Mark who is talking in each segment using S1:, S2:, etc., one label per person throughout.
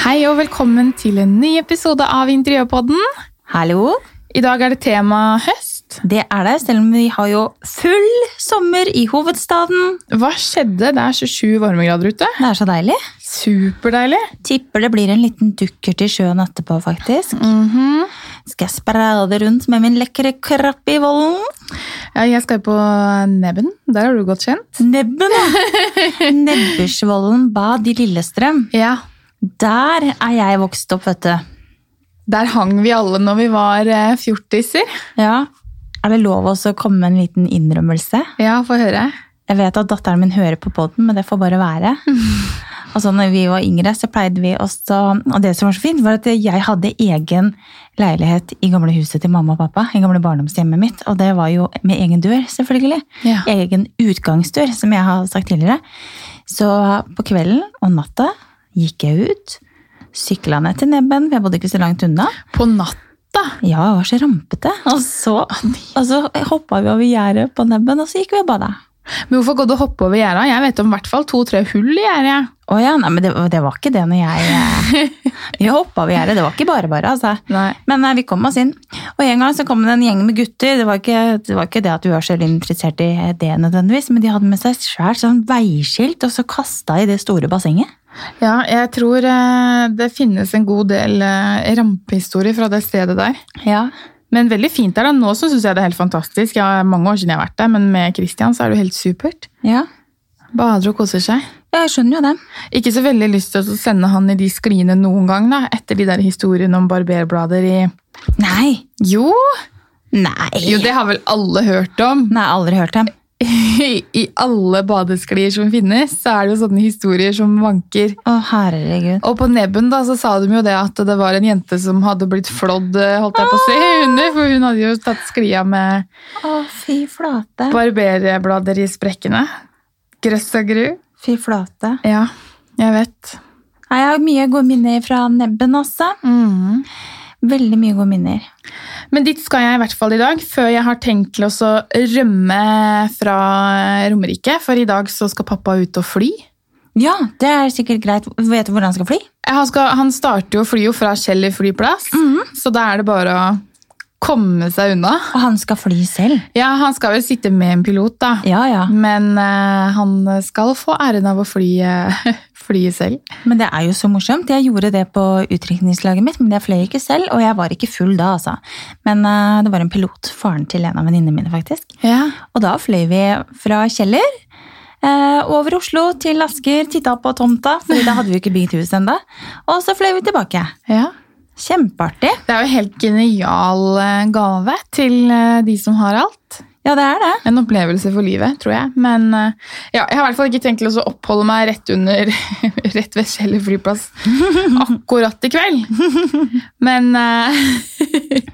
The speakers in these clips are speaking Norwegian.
S1: Hei og velkommen til en ny episode av Interiørpodden.
S2: Hallo.
S1: I dag er det tema høst.
S2: Det er det, selv om vi har jo full sommer i hovedstaden.
S1: Hva skjedde? Det er 27 varmegrader ute.
S2: Det er så deilig.
S1: Superdeilig.
S2: Tipper det blir en liten dukker til sjøen etterpå, faktisk.
S1: Mhm.
S2: Skal jeg sprade rundt med min lekre krapp i vollen?
S1: Ja, jeg skal jo på Nebben. Der er du godt kjent.
S2: Nebben, da! Nebbersvollen bad i Lillestrøm.
S1: Ja,
S2: Der er jeg vokst opp, vet du.
S1: der hang vi alle når vi var eh, fjortiser.
S2: Ja. Er det lov også å komme med en liten innrømmelse?
S1: Ja, få høre.
S2: Jeg vet at datteren min hører på podden, men det får bare være. Altså, når vi var yngre, så pleide vi også Og det som var så fint, var at jeg hadde egen leilighet i gamle huset til mamma og pappa. I gamle barndomshjemmet mitt. Og det var jo med egen dør, selvfølgelig.
S1: Ja.
S2: Egen utgangsdør, som jeg har sagt tidligere. Så på kvelden og natta gikk jeg ut. Sykla ned til Nebben, for jeg bodde ikke så langt unna.
S1: På natta.
S2: Ja, jeg var så rampete. Og så, og så hoppa vi over gjerdet på Nebben, og så gikk vi og bada.
S1: Men hvorfor går du og hopper over gjerdet? Jeg vet om i hvert fall to-tre hull i gjerdet.
S2: Å ja, nei, men det, det var ikke det når jeg eh, Vi hoppa over gjerdet. Det var ikke bare bare, altså.
S1: Nei.
S2: Men eh, vi kom oss inn. Og en gang så kom det en gjeng med gutter. Det var ikke det, var ikke det at vi var så veldig interessert i det nødvendigvis, men de hadde med seg et svært sånn veiskilt, og så kasta i det store bassenget.
S1: Ja, jeg tror eh, det finnes en god del eh, rampehistorier fra det stedet der.
S2: Ja.
S1: Men veldig fint der da. Nå så synes jeg det er helt fantastisk. Jeg har mange år siden jeg har vært der, men med Christian så er det jo helt supert.
S2: ja.
S1: Bader og koser seg.
S2: Jeg skjønner jo det.
S1: Ikke så veldig lyst til å sende han i de skliene noen gang da, etter de der historiene om barberblader i...
S2: Nei.
S1: Jo!
S2: Nei.
S1: Jo, det har vel alle hørt om.
S2: Nei, aldri hørt dem.
S1: I alle badesklier som finnes, så er det jo sånne historier som vanker.
S2: Å, herregud.
S1: Og på nebben da, så sa de jo det at det var en jente som hadde blitt flådd, eh, holdt jeg på å si, under, for hun hadde jo tatt sklia med...
S2: Å, fy flate.
S1: Barberblader i sprekkene. Grøss og gru.
S2: Fy flate.
S1: Ja, jeg vet.
S2: Nei, jeg har mye gode minner fra Nebben også. Veldig mye gode minner.
S1: Men dit skal jeg i hvert fall i dag, før jeg har tenkt til å så rømme fra Romerike. For i dag så skal pappa ut og fly.
S2: Ja, det er sikkert greit. Vet du hvor han skal fly?
S1: Han, skal, han starter jo å fly jo fra Kjeller flyplass, så da er det bare å komme seg unna.
S2: Og han skal fly selv.
S1: Ja, han skal vel sitte med en pilot, da.
S2: Ja, ja.
S1: Men eh, han skal få æren av å fly, eh, fly selv.
S2: Men det er jo så morsomt. Jeg gjorde det på utrykningslaget mitt, men jeg fløy ikke selv, og jeg var ikke full da, altså. Men eh, det var en pilot, faren til en av venninnene mine, faktisk.
S1: Ja.
S2: Og da fløy vi fra Kjeller eh, over Oslo til Asker, titta på tomta, for da hadde vi ikke bygd hus ennå. Og så fløy vi tilbake.
S1: ja.
S2: Kjempeartig.
S1: Det er jo en helt genial eh, gave til eh, de som har alt.
S2: Ja, det er det.
S1: En opplevelse for livet, tror jeg. Men eh, ja, jeg har i hvert fall ikke tenkt til å så oppholde meg rett under rett ved Kjeller flyplass akkurat i kveld. Men eh,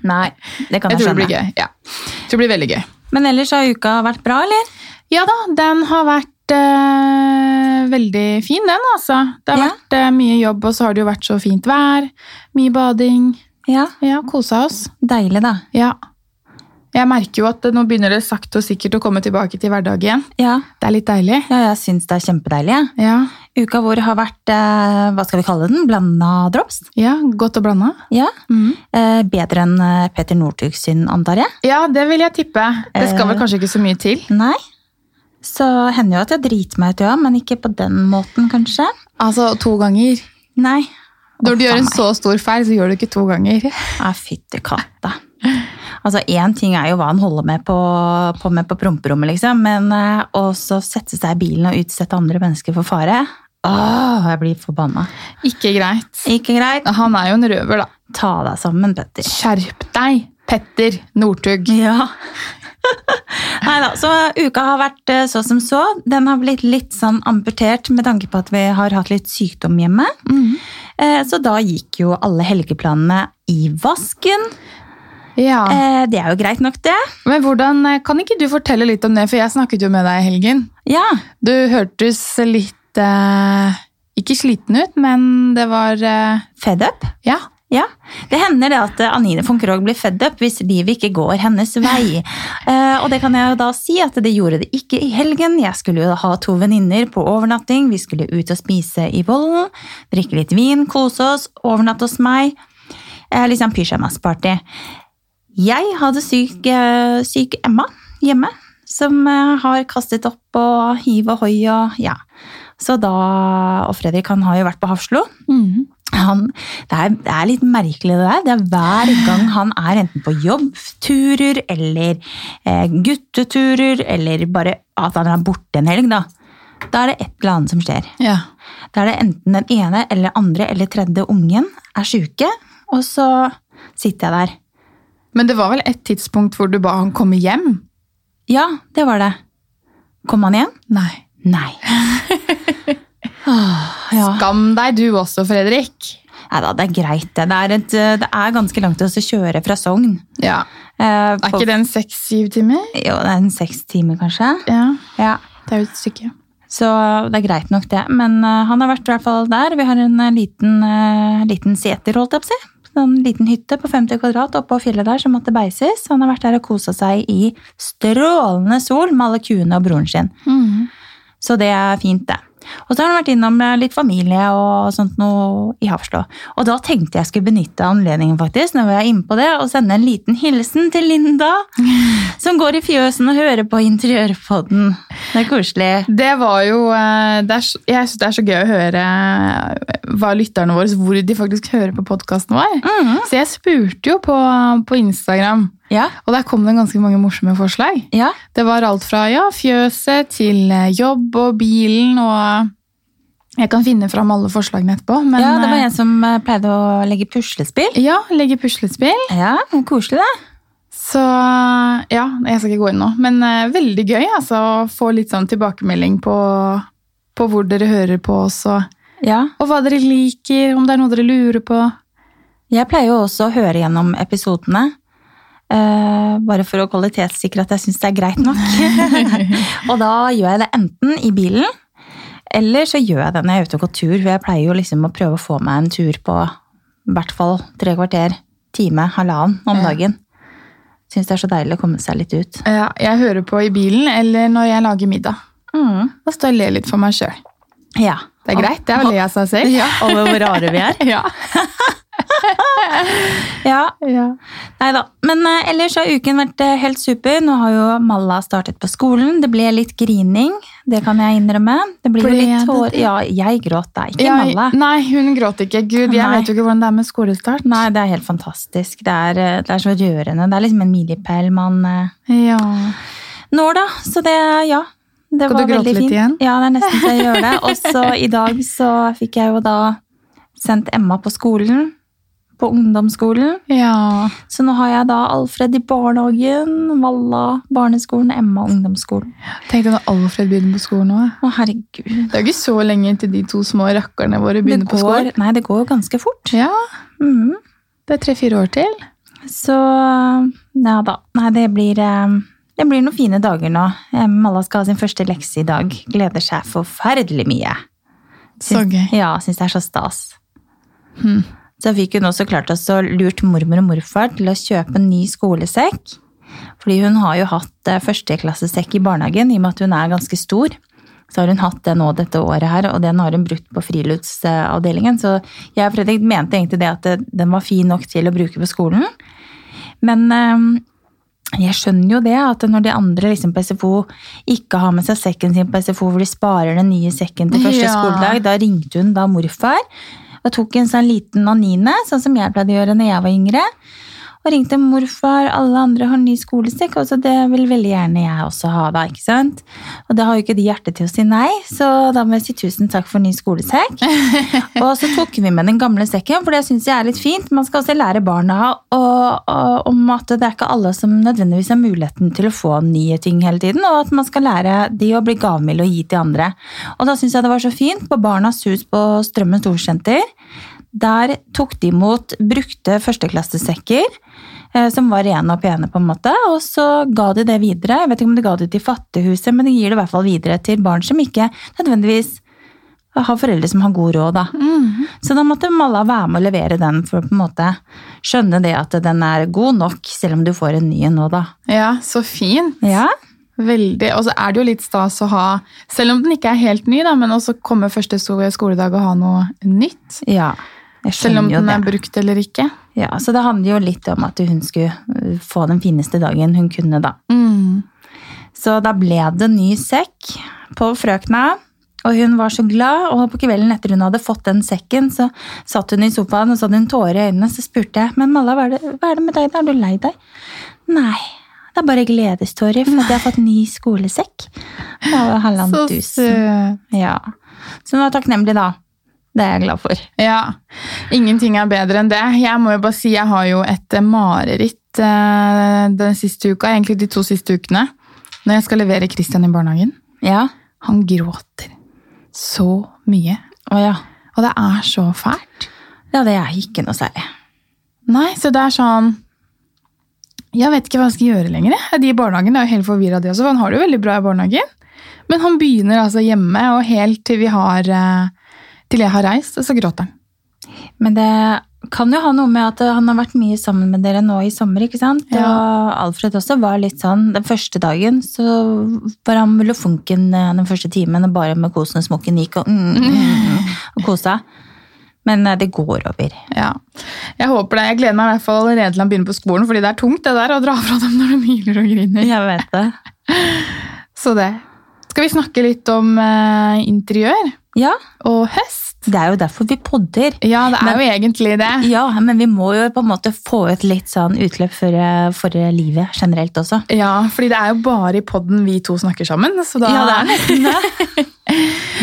S2: Nei, det kan
S1: jeg
S2: jeg,
S1: tror det blir
S2: skjønne.
S1: gøy. Ja. Jeg tror det blir veldig gøy.
S2: Men ellers har uka vært bra, eller?
S1: Ja da, den har vært eh, veldig fin, den, altså. Det har
S2: Ja.
S1: vært eh, mye jobb, og så har det jo vært så fint vær. Mye bading.
S2: Ja.
S1: Ja, kosa oss.
S2: Deilig, da.
S1: Ja. Jeg merker jo at det- nå begynner det sakte og sikkert å komme tilbake til hverdagen igjen.
S2: Ja.
S1: Det er litt deilig.
S2: Ja, jeg syns det er kjempedeilig. jeg.
S1: Ja,
S2: Uka vår har vært eh, hva skal vi kalle den, blanda drops.
S1: ja godt og blanda.
S2: Ja.
S1: Mm.
S2: Eh, bedre enn eh, Peter Northug sin, antar jeg.
S1: Ja, det vil jeg tippe. Det skal vel
S2: Eh.
S1: kanskje ikke så mye til.
S2: Nei. Så hender jo at jeg driter meg ut, ja, men ikke på den måten, kanskje.
S1: Altså to ganger.
S2: Nei.
S1: Når du
S2: Å,
S1: gjør en
S2: faen meg.
S1: så stor feil, så gjør du ikke to ganger.
S2: Ja, fytti katta. Altså, én ting er jo hva han holder med på, på med på promperommet, liksom, men eh, også sette seg i bilen og utsette andre mennesker for fare. Åh, jeg blir forbanna.
S1: Ikke greit.
S2: Ikke greit.
S1: Han er jo en røver, da.
S2: Ta deg sammen, Petter.
S1: Skjerp deg, Petter Northug.
S2: Ja. Nei da, så uka har vært eh, så som så. Den har blitt litt sånn amputert med tanke på at vi har hatt litt sykdom hjemme. Eh, Så da gikk jo alle helgeplanene i vasken.
S1: Ja.
S2: Eh, Det er jo greit nok, det.
S1: Men hvordan, eh, kan ikke du fortelle litt om det, for jeg snakket jo med deg i helgen.
S2: Ja.
S1: Du hørtes litt eh, Ikke sliten ut, men det var eh,
S2: Fed up.
S1: Ja.
S2: Ja, Det hender det at eh, Anine von Krogh blir fed up hvis livet ikke går hennes vei. Eh, og det kan jeg jo da si at det gjorde det ikke i helgen. Jeg skulle jo ha to venninner på overnatting. Vi skulle ut og spise i Vollen, drikke litt vin, kose oss, overnatte hos meg. Eh, liksom pysjamasparty. Jeg hadde syk, eh, syk Emma hjemme, som eh, har kastet opp og hiv og hoi og ja. Så da, og Fredrik han har jo vært på Hafslo.
S1: Mhm.
S2: Han, det, er, det er litt merkelig det der. Det er hver gang han er enten på jobbturer eller eh, gutteturer, eller bare at han er borte en helg, da. Da er det et eller annet som skjer.
S1: Ja.
S2: Da er det enten den ene eller andre eller tredje ungen er sjuke, og så sitter jeg der.
S1: Men det var vel et tidspunkt hvor du ba han komme hjem?
S2: Ja, det var det. Kom han igjen?
S1: Nei.
S2: Nei. Åh, ja.
S1: Skam deg du også, Fredrik.
S2: Nei da, det er greit. Det Det er, et, eh, det er ganske langt å kjøre fra Sogn.
S1: Ja.
S2: Eh,
S1: Er
S2: på-
S1: ikke den seks-syv timer?
S2: Jo, det er en seks timer, kanskje.
S1: Ja.
S2: Ja.
S1: Det er jo et stykke.
S2: Så det er greit nok, det. Men eh, han har vært i hvert fall der. Vi har en eh, liten, eh, liten seter, holdt jeg på å si. En liten hytte på 50 kvadrat oppå fjellet der som måtte beises. Han har vært der og kosa seg i strålende sol med alle kuene og broren sin.
S1: Mhm.
S2: Så det er fint, det. Og så har han vært innom eh, litt familie og sånt noe i Hafslå. Og da tenkte jeg skulle benytte anledningen faktisk, når vi er inne på det, og sende en liten hilsen til Linda, som går i fjøsen og hører på interiørpodden. Det er koselig.
S1: Det var jo eh, det er, så- Jeg syns det er så gøy å høre eh, hva lytterne våre hvor de faktisk hører på podkasten vår.
S2: Mm.
S1: Så jeg spurte jo på, på Instagram,
S2: Ja,
S1: og der kom det ganske mange morsomme forslag.
S2: ja.
S1: Det var alt fra ja, fjøset til eh, jobb og bilen og Jeg kan finne fram alle forslagene etterpå, men
S2: ja, det var
S1: eh,
S2: en som eh, pleide å legge puslespill.
S1: ja, legge puslespill.
S2: Ja, koselig det.
S1: Så eh, ja, jeg skal ikke gå inn nå, men eh, veldig gøy altså, å få litt sånn tilbakemelding på, på hvor dere hører på oss, og,
S2: Ja,
S1: og hva dere liker, om det er noe dere lurer på.
S2: jeg pleier jo også å høre gjennom episodene. eh, bare for å kvalitetssikre at jeg syns det er greit nok. og da gjør jeg det enten i bilen, eller så gjør jeg det når jeg er ute og går tur. For jeg pleier jo liksom å prøve å få meg en tur på i hvert fall tre kvarter, time, halvannen om
S1: Ja.
S2: dagen. Syns det er så deilig å komme seg litt ut.
S1: Ja, jeg hører på i bilen eller når jeg lager middag.
S2: Mm.
S1: Da står jeg og ler litt for meg sjøl.
S2: Ja.
S1: Det er greit, det er å le av seg selv.
S2: Ja, over hvor rare vi er.
S1: Ja.
S2: Ja,
S1: Ja.
S2: Nei da. Men eh, ellers har uken vært eh, helt super. Nå har jo Malla startet på skolen. Det ble litt grining, det kan jeg innrømme. Det blir jo
S1: Ble
S2: litt
S1: det
S2: tår...
S1: det?
S2: Ja, jeg gråt da, ikke
S1: Ja,
S2: Malla.
S1: nei, hun gråt ikke. Gud, jeg
S2: Nei.
S1: vet jo ikke hvordan det er med skolestart.
S2: Nei, det er helt fantastisk. Det er, eh, det er så rørende. Det er liksom en milepæl man eh,
S1: Ja.
S2: når, da. Så det, ja. Det
S1: Skal
S2: var
S1: du gråte
S2: veldig
S1: litt
S2: fint.
S1: igjen?
S2: Ja, det er nesten så jeg gjør det. Og så i dag så fikk jeg jo da sendt Emma på skolen. På ungdomsskolen.
S1: ja.
S2: Så nå har jeg da Alfred i barnehagen, Valla barneskolen, Emma ungdomsskolen.
S1: Tenkte når Alfred begynner på skolen nå.
S2: Å, herregud.
S1: Det er jo ikke så lenge til de to små rakkerne våre
S2: Det
S1: begynner på
S2: går,
S1: skolen.
S2: nei, det går jo ganske fort.
S1: Ja,
S2: Mhm.
S1: det er tre-fire år til.
S2: Så ja da. Nei, det blir, eh, det blir noen fine dager nå. Eh, Malla skal ha sin første lekse i dag. Gleder seg forferdelig mye.
S1: Så gøy.
S2: Ja, syns det er så stas.
S1: Hmm.
S2: Så fikk hun også klart oss og lurt mormor og morfar til å kjøpe en ny skolesekk. Fordi hun har jo hatt eh, førsteklassesekk i barnehagen i og med at hun er ganske stor. Så har hun hatt det nå dette året her, og den har hun brukt på friluftsavdelingen. Så jeg og Fredrik mente egentlig det at eh, den var fin nok til å bruke på skolen. Men eh, jeg skjønner jo det, at når de andre liksom på SFO ikke har med seg sekken sin på SFO, hvor de sparer den nye sekken til første
S1: Ja.
S2: skoledag, da ringte hun da morfar og tok en sånn liten anine, sånn som jeg pleide å gjøre når jeg var yngre. Og ringte morfar, alle andre har ny skolesekk, og så det vil veldig gjerne jeg også ha da, ikke sant? Og da har jo ikke de hjerte til å si nei, så da må jeg si tusen takk for ny skolesekk. og så tok vi med den gamle sekken, for det syns jeg er litt fint. Man skal også lære barna og, og, om at det er ikke alle som nødvendigvis har muligheten til å få nye ting hele tiden, og at man skal lære de å bli gavmilde og gi til andre. Og da syns jeg det var så fint på Barnas hus på Strømmen storsenter. Der tok de imot brukte førsteklassesekker, eh, som var rene og pene, på en måte, og så ga de det videre. Jeg vet ikke om de ga det til Fattighuset, men de gir det i hvert fall videre til barn som ikke nødvendigvis har foreldre som har god råd. da. Så da måtte Malla være med å levere den for å på en måte skjønne det at den er god nok, selv om du får en ny en nå, da.
S1: Ja, så fint.
S2: Ja,
S1: Veldig. Og så er det jo litt stas å ha, selv om den ikke er helt ny, da, men også komme første so- skoledag og ha noe nytt.
S2: ja. Jeg
S1: Selv om
S2: skjønner jo
S1: den
S2: det.
S1: er brukt eller ikke.
S2: Ja, Så det handler jo litt om at hun skulle øh, få den fineste dagen hun kunne, da.
S1: Mm.
S2: Så da ble det ny sekk på frøkna. Og hun var så glad, og på kvelden etter hun hadde fått den sekken, så satt hun i sofaen og så hadde hun tårer i øynene. Så spurte jeg men Malla, hva er det, hva er det med deg, da? Er du lei deg? Nei, det er bare gledestårer for at jeg har fått ny skolesekk. Det var
S1: Så
S2: halvannen tusen.
S1: søt.
S2: Ja. Så hun var takknemlig, da. Det er jeg glad for.
S1: Ja. Ingenting er bedre enn det. Jeg må jo bare si jeg har jo et eh, mareritt eh, den siste uka, egentlig de to siste ukene, når jeg skal levere Christian i barnehagen.
S2: Ja.
S1: Han gråter så mye.
S2: Å ja.
S1: Og det er så fælt.
S2: Ja, det er ikke noe særlig.
S1: Nei, så det er sånn Jeg vet ikke hva jeg skal gjøre lenger. jeg. De i barnehagen er jo helt forvirra, de også. For han har det jo veldig bra i barnehagen. Men han begynner altså hjemme, og helt til vi har eh, Til jeg har reist, så gråter han.
S2: Men det kan jo ha noe med at han har vært mye sammen med dere nå i sommer. ikke sant?
S1: Ja.
S2: Og Alfred også var litt sånn Den første dagen så var han med lofunken eh, den første timen og bare med kosen og smokken gikk og, mm, mm, mm, og kosa. Men eh, det går over.
S1: Ja. Jeg håper det. Jeg gleder meg i hvert fall allerede til han begynner på skolen, fordi det er tungt det der å dra fra dem når de hyler og griner.
S2: Jeg vet det.
S1: Så det. Skal vi snakke litt om eh, interiør
S2: Ja,
S1: og høst?
S2: det er jo derfor vi podder.
S1: Ja, det er
S2: Men-
S1: jo egentlig det.
S2: Ja, men vi må jo på en måte få ut litt sånn utløp for, eh, for livet generelt også.
S1: Ja, fordi det er jo bare i podden vi to snakker sammen. Så da...
S2: nesten det.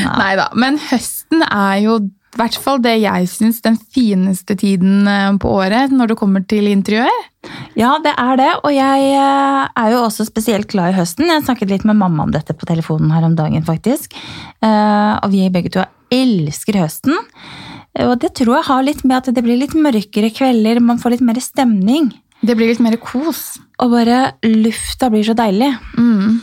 S1: Nei da. Men høsten er jo i hvert fall det jeg syns den fineste tiden eh, på året når det kommer til interiør.
S2: Ja, det er det, og jeg eh, er jo også spesielt glad i høsten. Jeg snakket litt med mamma om dette på telefonen her om dagen, faktisk. Eh, Og vi begge to elsker høsten. Eh, Og det tror jeg har litt med at det blir litt mørkere kvelder, man får litt mer stemning.
S1: Det blir litt mer kos.
S2: Og bare lufta blir så deilig.
S1: Mm.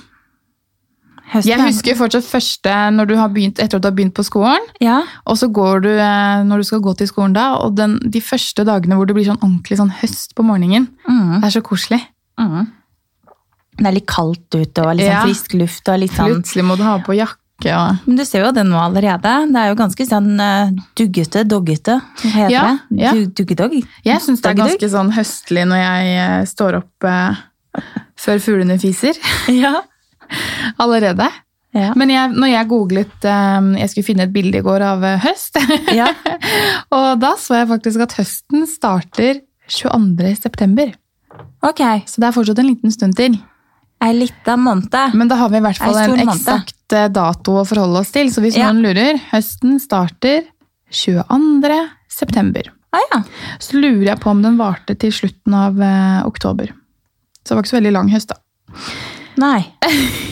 S2: Høsten
S1: Jeg
S2: er-
S1: husker fortsatt første når du har begynt, etter at du har begynt på skolen.
S2: Ja,
S1: Og så går du, eh, når du skal gå til skolen da, og den, de første dagene hvor det blir sånn ordentlig sånn høst på morgenen,
S2: mm,
S1: det er så koselig.
S2: mm. Det er litt kaldt ute, og litt
S1: Ja.
S2: sånn frisk luft og litt sånn
S1: Plutselig må du ha på jakke og...
S2: Men du ser jo det nå allerede. Det er jo ganske sånn eh, duggete, doggete, hva heter
S1: Ja,
S2: det?
S1: ja.
S2: Du- Duggedogg.
S1: Jeg syns det er
S2: Dagdugg.
S1: ganske sånn høstlig når jeg eh, står opp eh, før fuglene fiser
S2: Ja.
S1: allerede.
S2: Ja.
S1: Men jeg, når jeg googlet eh, Jeg skulle finne et bilde i går av eh, høst,
S2: ja.
S1: og da så jeg faktisk at høsten starter 22. september.
S2: Ok.
S1: Så det er fortsatt en liten stund til.
S2: Ei lita måned.
S1: Men da har vi i hvert fall
S2: Ei stor
S1: en
S2: måned.
S1: eksakt eh, dato å forholde oss til. Så hvis
S2: Ja.
S1: noen lurer, høsten starter 22. september.
S2: Ah, ja.
S1: Så lurer jeg på om den varte til slutten av eh, oktober. Så det var ikke så veldig lang høst, da.
S2: Nei.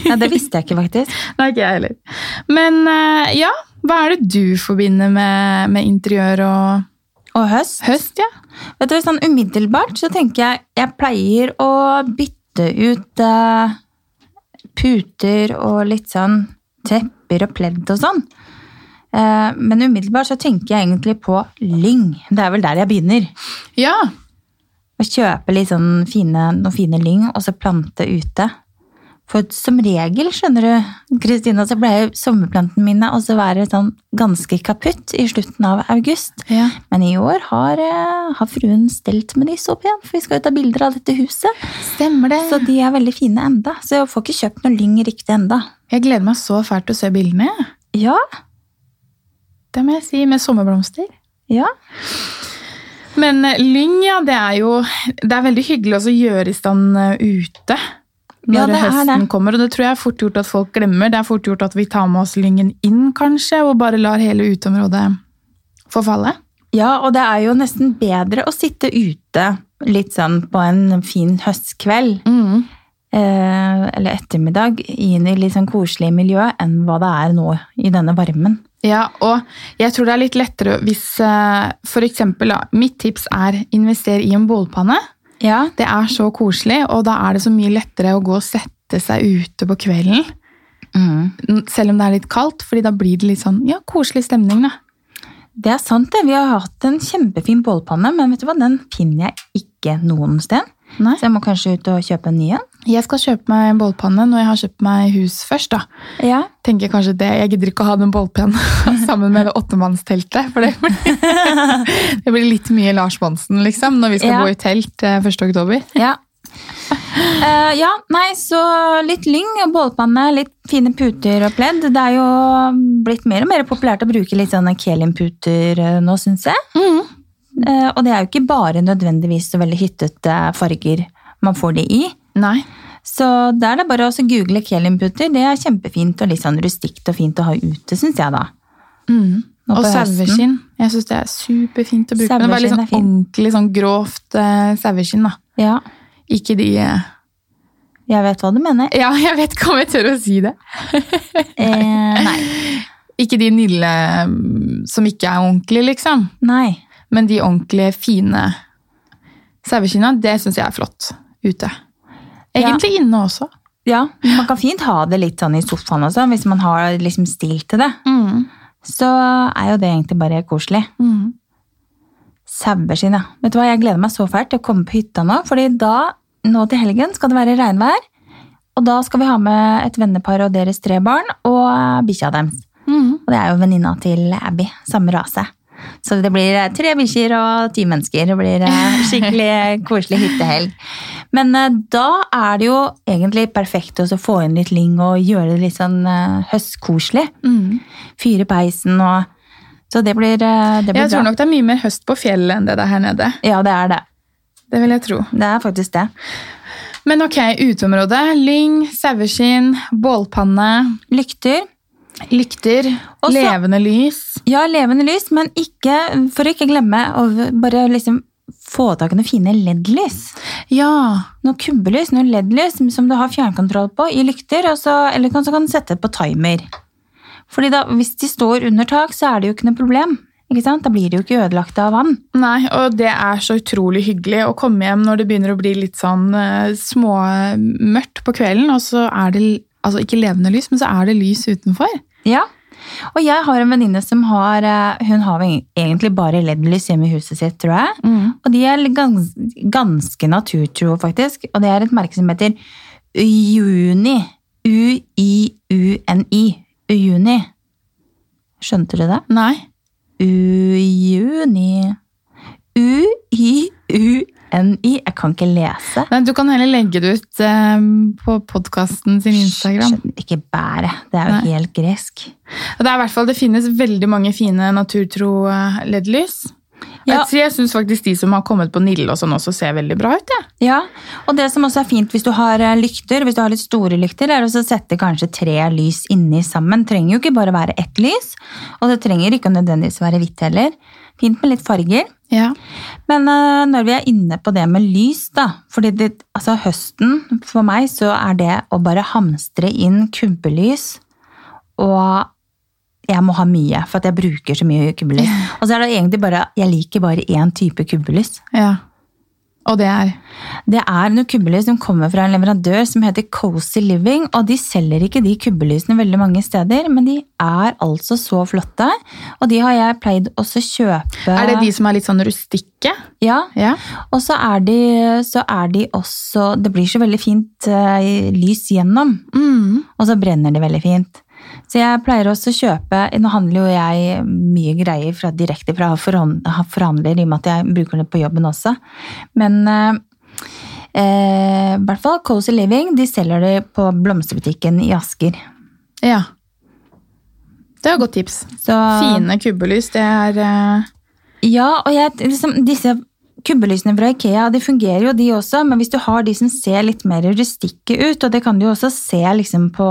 S2: Ja, det visste jeg ikke, faktisk.
S1: Nei, ikke jeg heller. Men eh, ja, hva er det du forbinder med, med interiør og
S2: Og høst.
S1: høst? ja?
S2: Vet du, sånn Umiddelbart så tenker jeg jeg pleier å bytte ut eh, puter og litt sånn tepper og pledd og sånn. Eh, men umiddelbart så tenker jeg egentlig på lyng. Det er vel der jeg begynner.
S1: Ja.
S2: Å kjøpe litt sånn fine, noen fine lyng, og så plante ute. For som regel, skjønner du, Kristina, så ble jo sommerplantene mine også være sånn ganske kaputt i slutten av august.
S1: ja.
S2: Men i år har, eh, har fruen stelt med de så pent, for vi skal jo ta bilder av dette huset.
S1: Stemmer det.
S2: Så de er veldig fine enda, så jeg får ikke kjøpt noen lyng riktig enda.
S1: Jeg gleder meg så fælt til å se bildene. jeg.
S2: Ja,
S1: Det må jeg si. Med sommerblomster.
S2: ja.
S1: Men eh, lyng, ja, det er jo Det er veldig hyggelig også å gjøre i stand eh, ute. Når
S2: Ja, det er
S1: høsten
S2: det.
S1: kommer, og det tror jeg er fort gjort at folk glemmer. Det er fort gjort at vi tar med oss lyngen inn, kanskje, og bare lar hele uteområdet forfalle.
S2: Ja, og det er jo nesten bedre å sitte ute litt sånn på en fin høstkveld, eh, eller ettermiddag inn i litt sånn koselig miljø enn hva det er nå i denne varmen.
S1: Ja, og jeg tror det er litt lettere hvis eh, for eksempel, da, mitt tips er invester i en bålpanne.
S2: Ja,
S1: Det er så koselig, og da er det så mye lettere å gå og sette seg ute på kvelden,
S2: Mm.
S1: selv om det er litt kaldt, fordi da blir det litt sånn, ja, koselig stemning da.
S2: Det er sant, det. Vi har hatt en kjempefin bålpanne, men vet du hva? den finner jeg ikke noen sted.
S1: Nei.
S2: Så jeg må kanskje ut og kjøpe en ny en.
S1: Jeg skal kjøpe meg en bålpanne når jeg har kjøpt meg hus først. da.
S2: Ja.
S1: Tenker kanskje det, Jeg gidder ikke å ha den bålpennen sammen med det åttemannsteltet. For det blir, det blir litt mye Lars Monsen liksom, når vi skal
S2: Ja.
S1: bo i telt eh, 1. oktober.
S2: Ja. Eh, ja, nei, så litt lyng og bålpanne, litt fine puter og pledd. Det er jo blitt mer og mer populært å bruke litt sånne Kelin-puter eh, nå, syns jeg. Eh, og det er jo ikke bare nødvendigvis så veldig hyttete farger man får det i.
S1: Nei.
S2: Så da er det bare å også google Kelin-puter. Det er kjempefint og litt sånn rustikt og fint å ha ute, syns jeg da.
S1: Mm.
S2: Nå
S1: Og
S2: på høsten.
S1: saueskinn. Jeg syns det er superfint å bruke. Men det er bare litt
S2: Saueskinn er
S1: sånn
S2: fint.
S1: ordentlig sånn grovt eh, saueskinn. da.
S2: Ja,
S1: Ikke de eh,
S2: jeg vet hva du mener.
S1: Ja, jeg vet ikke om jeg tør å si det.
S2: Eh, nei.
S1: Ikke de nille mm, som ikke er ordentlige, liksom.
S2: nei.
S1: Men de ordentlige, fine saueskinna, det syns jeg er flott ute. Egentlig inne også.
S2: Ja, man kan fint ha det litt sånn i sofaen også, hvis man har liksom stil til det. Så er jo det egentlig bare koselig.
S1: Mm.
S2: Saueskinn, ja. Vet du hva, jeg gleder meg så fælt til å komme på hytta nå, fordi da, nå til helgen, skal det være regnvær. Og da skal vi ha med et vennepar og deres tre barn og eh, bikkja deres. Og det er jo venninna til Abby, samme rase. Så det blir eh, tre bikkjer og ti mennesker. Det blir eh, skikkelig koselig hyttehelg. Men eh, da er det jo egentlig perfekt også å få inn litt lyng og gjøre det litt sånn eh, høstkoselig.
S1: Mm.
S2: Fyre peisen og Så det blir, eh, det blir
S1: Jeg tror
S2: bra.
S1: nok det er mye mer høst på fjellet enn det det er her nede.
S2: Ja, det er det.
S1: Det vil jeg tro.
S2: Det er faktisk det.
S1: Men ok, uteområde. Lyng, saueskinn, bålpanne,
S2: Lykter.
S1: lykter,
S2: Og så-
S1: levende lys.
S2: Ja, levende lys, men ikke, for å ikke glemme å bare liksom få tak i noen fine LED-lys.
S1: Ja.
S2: Noen kubbelys, noen LED-lys som du har fjernkontroll på i lykter, og så, eller kan, så kan du sette det på timer. Fordi da, hvis de står under tak, så er det jo ikke noe problem. Ikke sant? Da blir de jo ikke ødelagt av vann.
S1: Nei, og det er så utrolig hyggelig å komme hjem når det begynner å bli litt sånn eh, småmørkt på kvelden, og så er det altså ikke levende lys, men så er det lys utenfor.
S2: Ja. Og jeg har en venninne som har eh, Hun har vel egentlig bare LED-lys hjemme i huset sitt, tror jeg. Og de er gans, ganske naturtro, faktisk. Og det er et merke som heter Ujuni. U-i-u-n-i. Ujuni. Skjønte du det?
S1: Nei.
S2: Ujuni. U-i-u-n-i. Jeg kan ikke lese.
S1: Nei, du kan heller legge det ut eh, på podkasten sin Instagram.
S2: Skjønner ikke bære. Det er jo
S1: Nei.
S2: helt gresk.
S1: Og Det er i hvert fall, det finnes veldig mange fine naturtro eh, LED-lys.
S2: Ja.
S1: Jeg, tror- jeg syns faktisk de som har kommet på Nille og sånn også ser veldig bra ut. Ja.
S2: Ja, og det som også er fint hvis du har eh, lykter, hvis du har litt store lykter, er også å sette kanskje tre lys inni sammen. Trenger jo ikke bare være ett lys, og det trenger ikke nødvendigvis være hvitt heller. Fint med litt farger.
S1: Ja.
S2: Men eh, når vi er inne på det med lys, da fordi det, altså høsten for meg så er det å bare hamstre inn kubbelys, og jeg må ha mye, for at jeg bruker så mye kubbelys. Og så er det egentlig bare Jeg liker bare én type kubbelys.
S1: ja. Og det er
S2: Det er noen kubbelys som kommer fra en leverandør som heter Cozy Living, og de selger ikke de kubbelysene veldig mange steder, men de er altså så flotte, og de har jeg pleid også kjøpe.
S1: Er det de som er litt sånn rustikke?
S2: Ja,
S1: Ja.
S2: og så er de, så er de også, det blir så veldig fint eh, lys gjennom,
S1: Mm.
S2: og så brenner det veldig fint. Så jeg pleier også å kjøpe, nå handler jo jeg mye greier fra, direkte fra forhånd- forhandler, i og med at jeg bruker det på jobben også. Men eh, eh, i hvert fall Cozy Living, de selger det på blomsterbutikken i Asker.
S1: ja. Det er et godt tips.
S2: Så,
S1: Fine kubbelys, det er eh,
S2: Ja, og jeg, liksom, disse kubbelysene fra Ikea, de fungerer jo de også, men hvis du har de som ser litt mer rustikke ut, og det kan du jo også se liksom på,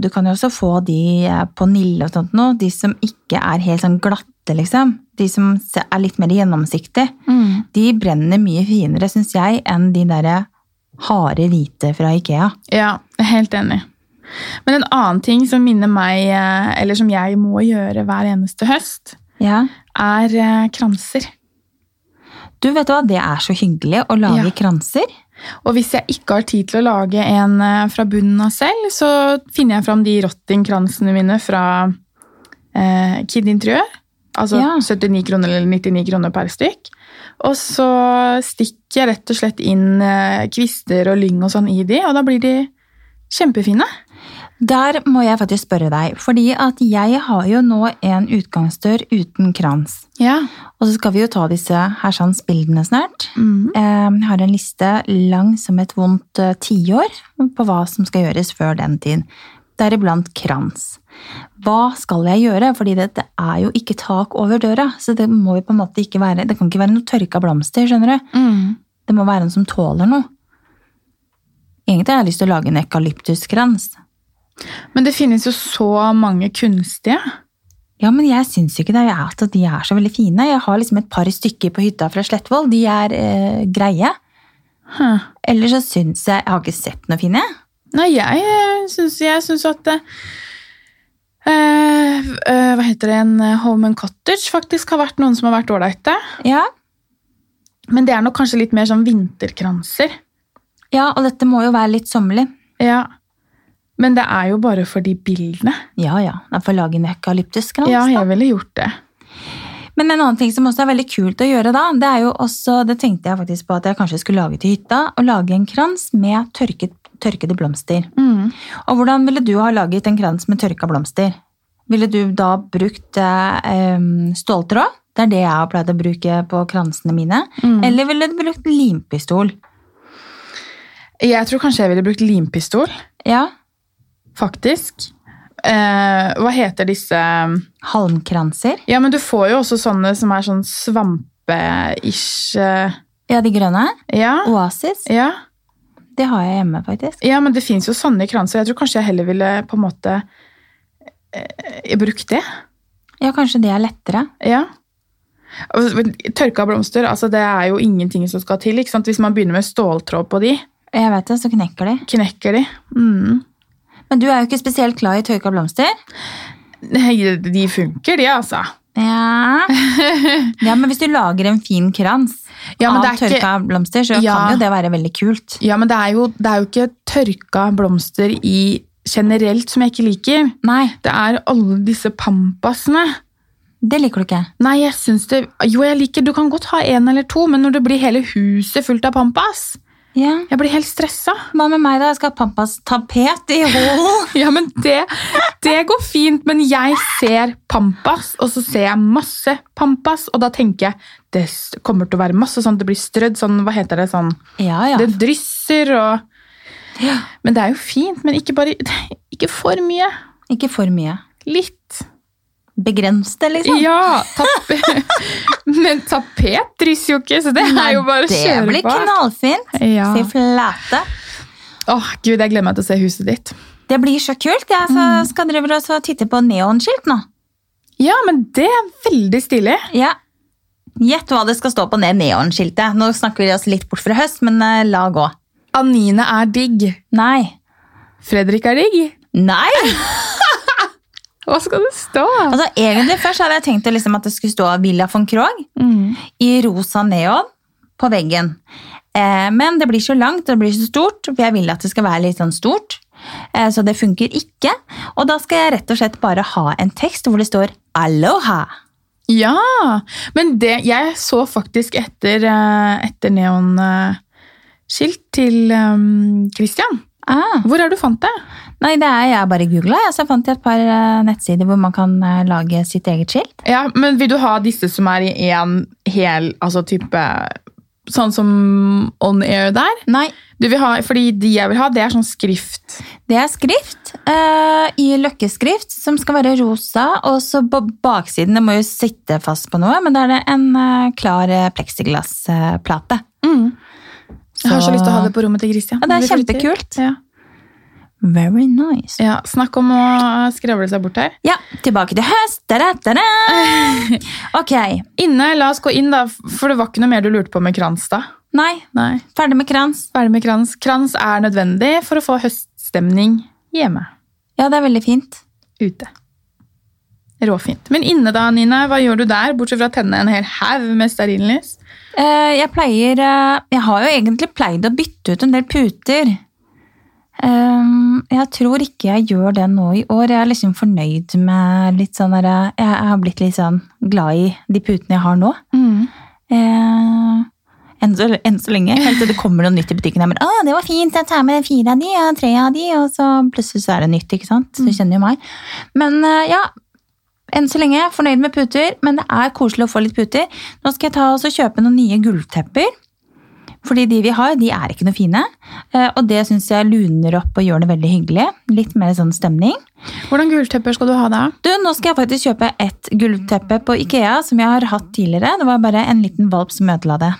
S2: du kan jo også få de eh, på Nille og sånt nå, de som ikke er helt sånn glatte liksom, de som se- er litt mer gjennomsiktige,
S1: Mm.
S2: de brenner mye finere, synes jeg, enn de der eh, harde hvite fra Ikea.
S1: Ja, jeg er helt enig. Men en annen ting som minner meg, eh, eller som jeg må gjøre hver eneste høst,
S2: Ja.
S1: er eh, kranser.
S2: Du vet hva, det er så hyggelig å lage
S1: Ja.
S2: kranser.
S1: Og hvis jeg ikke har tid til å lage en eh, fra bunnen av selv, så finner jeg fram de rottingkransene mine fra eh, Kid Interiør. Altså
S2: Ja.
S1: 79 kroner eller 99 kroner per stykk. Og så stikker jeg rett og slett inn eh, kvister og lyng og sånn i de, og da blir de kjempefine.
S2: Der må jeg faktisk spørre deg, fordi at jeg har jo nå en utgangsdør uten krans.
S1: Ja.
S2: Og så skal vi jo ta disse hersansbildene snart.
S1: Mhm.
S2: Eh, Jeg har en liste lang som et vondt eh, tiår på hva som skal gjøres før den tid. Deriblant krans. Hva skal jeg gjøre? Fordi det, det er jo ikke tak over døra, så det må jo på en måte ikke være Det kan ikke være noe tørka blomster, skjønner du. Det må være noen som tåler noe. Egentlig har jeg lyst til å lage en eukalyptuskrans.
S1: Men det finnes jo så mange kunstige.
S2: Ja, men jeg syns ikke det. Jeg er at de er så veldig fine. Jeg har liksom et par stykker på hytta fra Slettvoll. De er eh, greie.
S1: Hm.
S2: Eller så syns jeg Jeg har ikke sett noe fine. jeg.
S1: Nei, jeg eh, syns, jeg syns at eh, eh, Hva heter det? En eh, Home and Cottage faktisk har vært noen som har vært ålreite.
S2: Ja.
S1: Men det er nok kanskje litt mer sånn vinterkranser.
S2: ja, og dette må jo være litt sommerlig.
S1: Ja. Men det er jo bare for de bildene.
S2: Ja, ja. Da får jeg lage en eukalyptuskrans.
S1: Ja,
S2: da.
S1: jeg ville gjort det.
S2: Men en annen ting som også er veldig kult å gjøre da, det er jo også, det tenkte jeg faktisk på at jeg kanskje skulle lage til hytta, å lage en krans med tørket, tørkede blomster.
S1: Mm,
S2: Og hvordan ville du ha laget en krans med tørka blomster? Ville du da brukt eh, em, ståltråd? Det er det jeg har pleid å bruke på kransene mine.
S1: Mm.
S2: Eller ville du brukt limpistol?
S1: Jeg tror kanskje jeg ville brukt limpistol,
S2: Ja,
S1: faktisk. Eh, hva heter disse
S2: halmkranser.
S1: Ja, men du får jo også sånne som er sånn svampe-ish eh,
S2: Ja, de grønne.
S1: Ja.
S2: Oasis.
S1: ja.
S2: Det har jeg hjemme, faktisk.
S1: Ja, men det fins jo sånne kranser. Jeg tror kanskje jeg heller ville på en måte eh, brukt det.
S2: Ja, kanskje det er lettere.
S1: Ja. Og- men Tørka blomster, altså det er jo ingenting som skal til. ikke sant? Hvis man begynner med ståltråd på de,
S2: Jeg vet det, så knekker de.
S1: knekker de. Mm.
S2: Men du er jo ikke spesielt glad i tørka blomster.
S1: Nei, De funker, de, altså.
S2: Ja. ja, men hvis du lager en fin krans
S1: Ja, men
S2: av
S1: det er
S2: tørka
S1: ikke-
S2: blomster, så
S1: Ja.
S2: kan jo det være veldig kult.
S1: Ja, men det er, jo, det er jo ikke tørka blomster i generelt som jeg ikke liker.
S2: Nei,
S1: Det er alle disse pampasene.
S2: det liker du ikke.
S1: Nei, jeg syns det Jo, jeg liker Du kan godt ha en eller to, men når det blir hele huset fullt av pampas
S2: Ja.
S1: Jeg blir helt stressa.
S2: Hva med meg, da? Jeg skal ha Pampas-tapet i hallen.
S1: Ja, men det, det går fint, men jeg ser pampas, og så ser jeg masse pampas, og da tenker jeg det s- kommer til å være masse sånn, det blir strødd sånn, hva heter det sånn,
S2: Ja, ja.
S1: det drysser og Men det er jo fint, men ikke bare Ikke for mye.
S2: Ikke for mye.
S1: Litt.
S2: Begrens det, liksom.
S1: Ja! Tap men tapet drysser jo ikke, så det er jo bare å
S2: det
S1: kjøre
S2: blir
S1: på.
S2: knallfint.
S1: Ja.
S2: Se flate.
S1: Åh, gud, jeg gleder meg til å se huset ditt.
S2: Det blir så kult. Jeg så
S1: Mm.
S2: skal drive og så titte på neonskilt nå.
S1: Ja, men det er veldig stilig.
S2: Ja. Gjett hva det skal stå på det neonskiltet. Nå snakker vi oss litt bort fra høst, men eh, la gå.
S1: Anine er digg.
S2: Nei.
S1: Fredrik er digg.
S2: Nei!
S1: Hva skal det stå?
S2: Altså, egentlig først hadde jeg tenkt å liksom at det skulle stå Villa von Krogh
S1: Mm.
S2: i rosa neon på veggen. Eh, men det blir så langt og det blir så stort, for jeg vil at det skal være litt sånn stort. Eh, så det funker ikke. Og da skal jeg rett og slett bare ha en tekst hvor det står Aloha.
S1: Ja! Men det, jeg så faktisk etter, eh, etter neonskilt til um, Christian.
S2: Ah.
S1: Hvor er du fant det?
S2: Nei, det er jeg bare googla, ja, så jeg fant jeg et par eh, nettsider hvor man kan eh, lage sitt eget skilt.
S1: Ja, men Vil du ha disse som er i én hel altså type Sånn som on air der?
S2: Nei,
S1: Du vil ha, fordi de jeg vil ha, det er sånn skrift.
S2: Det er skrift eh, i løkkeskrift som skal være rosa, og så på baksiden, det må jo sitte fast på noe, men da er det en eh, klar eh, plexiglassplate.
S1: Mm. Jeg har så lyst til å ha det på rommet til Christian.
S2: Ja, det er
S1: Vi får til.
S2: kjempekult.
S1: Ja.
S2: Very nice.
S1: Ja, snakk om å skrevle seg bort her.
S2: Ja, tilbake til høst. Da, da, da, da. Ok,
S1: Inne, la oss gå inn da, for det var ikke noe mer du lurte på med krans da.
S2: nei,
S1: Nei.
S2: ferdig med krans.
S1: Hva er det med krans? Krans er nødvendig for å få høststemning hjemme,
S2: Ja, det er veldig fint.
S1: ute. Råfint. Men inne da, Nina, hva gjør du der, bortsett fra å tenne en hel haug med stearinlys?
S2: Eh, jeg pleier, eh, jeg har jo egentlig pleid å bytte ut en del puter. Ehm, jeg tror ikke jeg gjør det nå i år. Jeg er liksom fornøyd med litt sånn der, Jeg jeg har blitt litt sånn glad i de putene jeg har nå.
S1: Mm.
S2: Eh, enn, så, enn så lenge. Helt til det kommer noe nytt i butikken. Jeg bare, å, det var fint, jeg tar med fire av de, og tre av de, og så plutselig så er det nytt, ikke sant? Så du kjenner jo meg. Men eh, ja, enn så lenge, fornøyd med puter, men det er koselig å få litt puter. Nå skal jeg ta og så kjøpe noen nye gulvtepper. Fordi de vi har, de er ikke noe fine. Eh, Og det syns jeg luner opp og gjør det veldig hyggelig. Litt mer sånn stemning.
S1: Hvordan gultepper skal du ha da?
S2: Du, nå skal jeg faktisk kjøpe et gulvteppe på Ikea som jeg har hatt tidligere. Det var bare en liten valp som ødela det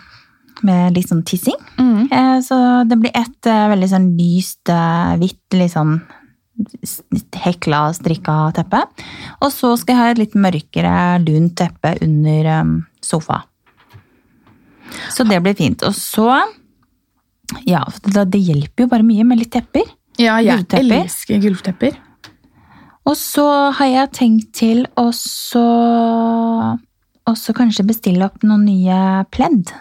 S2: med litt sånn tissing.
S1: Mm.
S2: Eh, Så det blir et eh, veldig sånn lyst, eh, hvitt, litt sånn s- hekla, strikka teppe. Og så skal jeg ha et litt mørkere, lunt teppe under eh, sofa. Så det blir fint. Og så Ja, for det det hjelper jo bare mye med litt tepper.
S1: Ja, jeg
S2: Gulvtepper?
S1: elsker gulvtepper.
S2: Og så har jeg tenkt til å så også kanskje bestille opp noen nye pledd.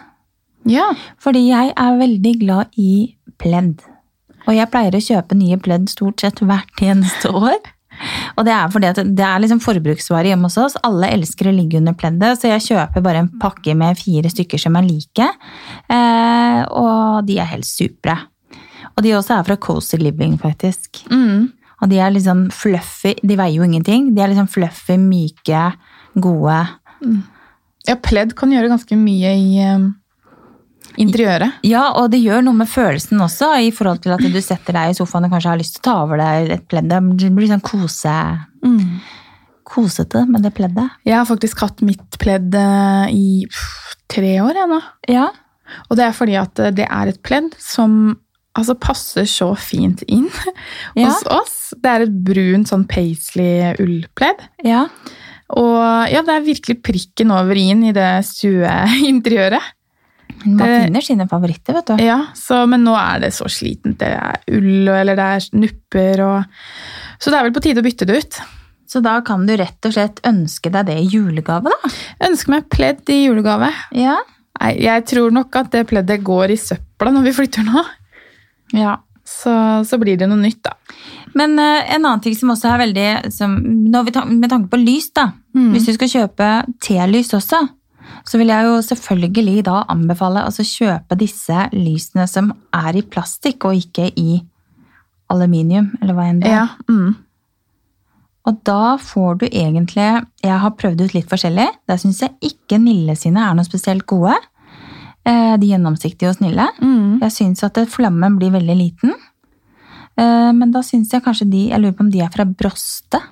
S1: Ja.
S2: Fordi jeg er veldig glad i pledd. Og jeg pleier å kjøpe nye pledd stort sett hvert eneste år. Og det er fordi at det er liksom forbruksvare hjemme hos oss. Alle elsker å ligge under pleddet, så jeg kjøper bare en pakke med fire stykker som er like. Eh, og de er helt supre. Og de også er fra Cozy Living, faktisk.
S1: Mm.
S2: Og de er liksom fluffy, de veier jo ingenting. De er liksom fluffy, myke, gode.
S1: ja, pledd kan gjøre ganske mye i em, interiøret.
S2: Ja, og det gjør noe med følelsen også, i forhold til at du setter deg i sofaen og kanskje har lyst til å ta over deg et pledd. Det blir sånn kose,
S1: Mm.
S2: kosete med det pleddet.
S1: Jeg har faktisk hatt mitt pledd eh, i pff, tre år jeg nå.
S2: Ja.
S1: Og det er fordi at eh, det er et pledd som altså, passer så fint inn
S2: Ja.
S1: hos oss. Det er et brunt sånn paisley-ullpledd.
S2: Ja.
S1: Og ja, det er virkelig prikken over i-en i det stueinteriøret.
S2: Man
S1: Det-
S2: finner sine favoritter, vet du.
S1: Ja, så, men nå er det så slitent. Det er ull, og- eller det er nupper og Så det er vel på tide å bytte det ut.
S2: Så da kan du rett og slett ønske deg det i julegave, da.
S1: Jeg ønsker meg pledd i julegave.
S2: Ja.
S1: Nei, jeg tror nok at det pleddet går i søpla når vi flytter nå.
S2: ja.
S1: Så, så blir det noe nytt, da. Men
S2: Men eh, en annen ting som også er veldig som, når vi ta, Med tanke på lys, da.
S1: Mm.
S2: Hvis du skal kjøpe telys også, så vil jeg jo selvfølgelig da anbefale å altså, kjøpe disse lysene som er i plastikk og ikke i aluminium, eller hva enn det er.
S1: Ja. Mm.
S2: Og da får du egentlig Jeg har prøvd ut litt forskjellig. Der syns jeg ikke Nille sine er noe spesielt gode. Eh, De gjennomsiktige og snille.
S1: Mm.
S2: Jeg syns at flammen blir veldig liten. Eh, Men da syns jeg kanskje de Jeg lurer på om de er fra Broste,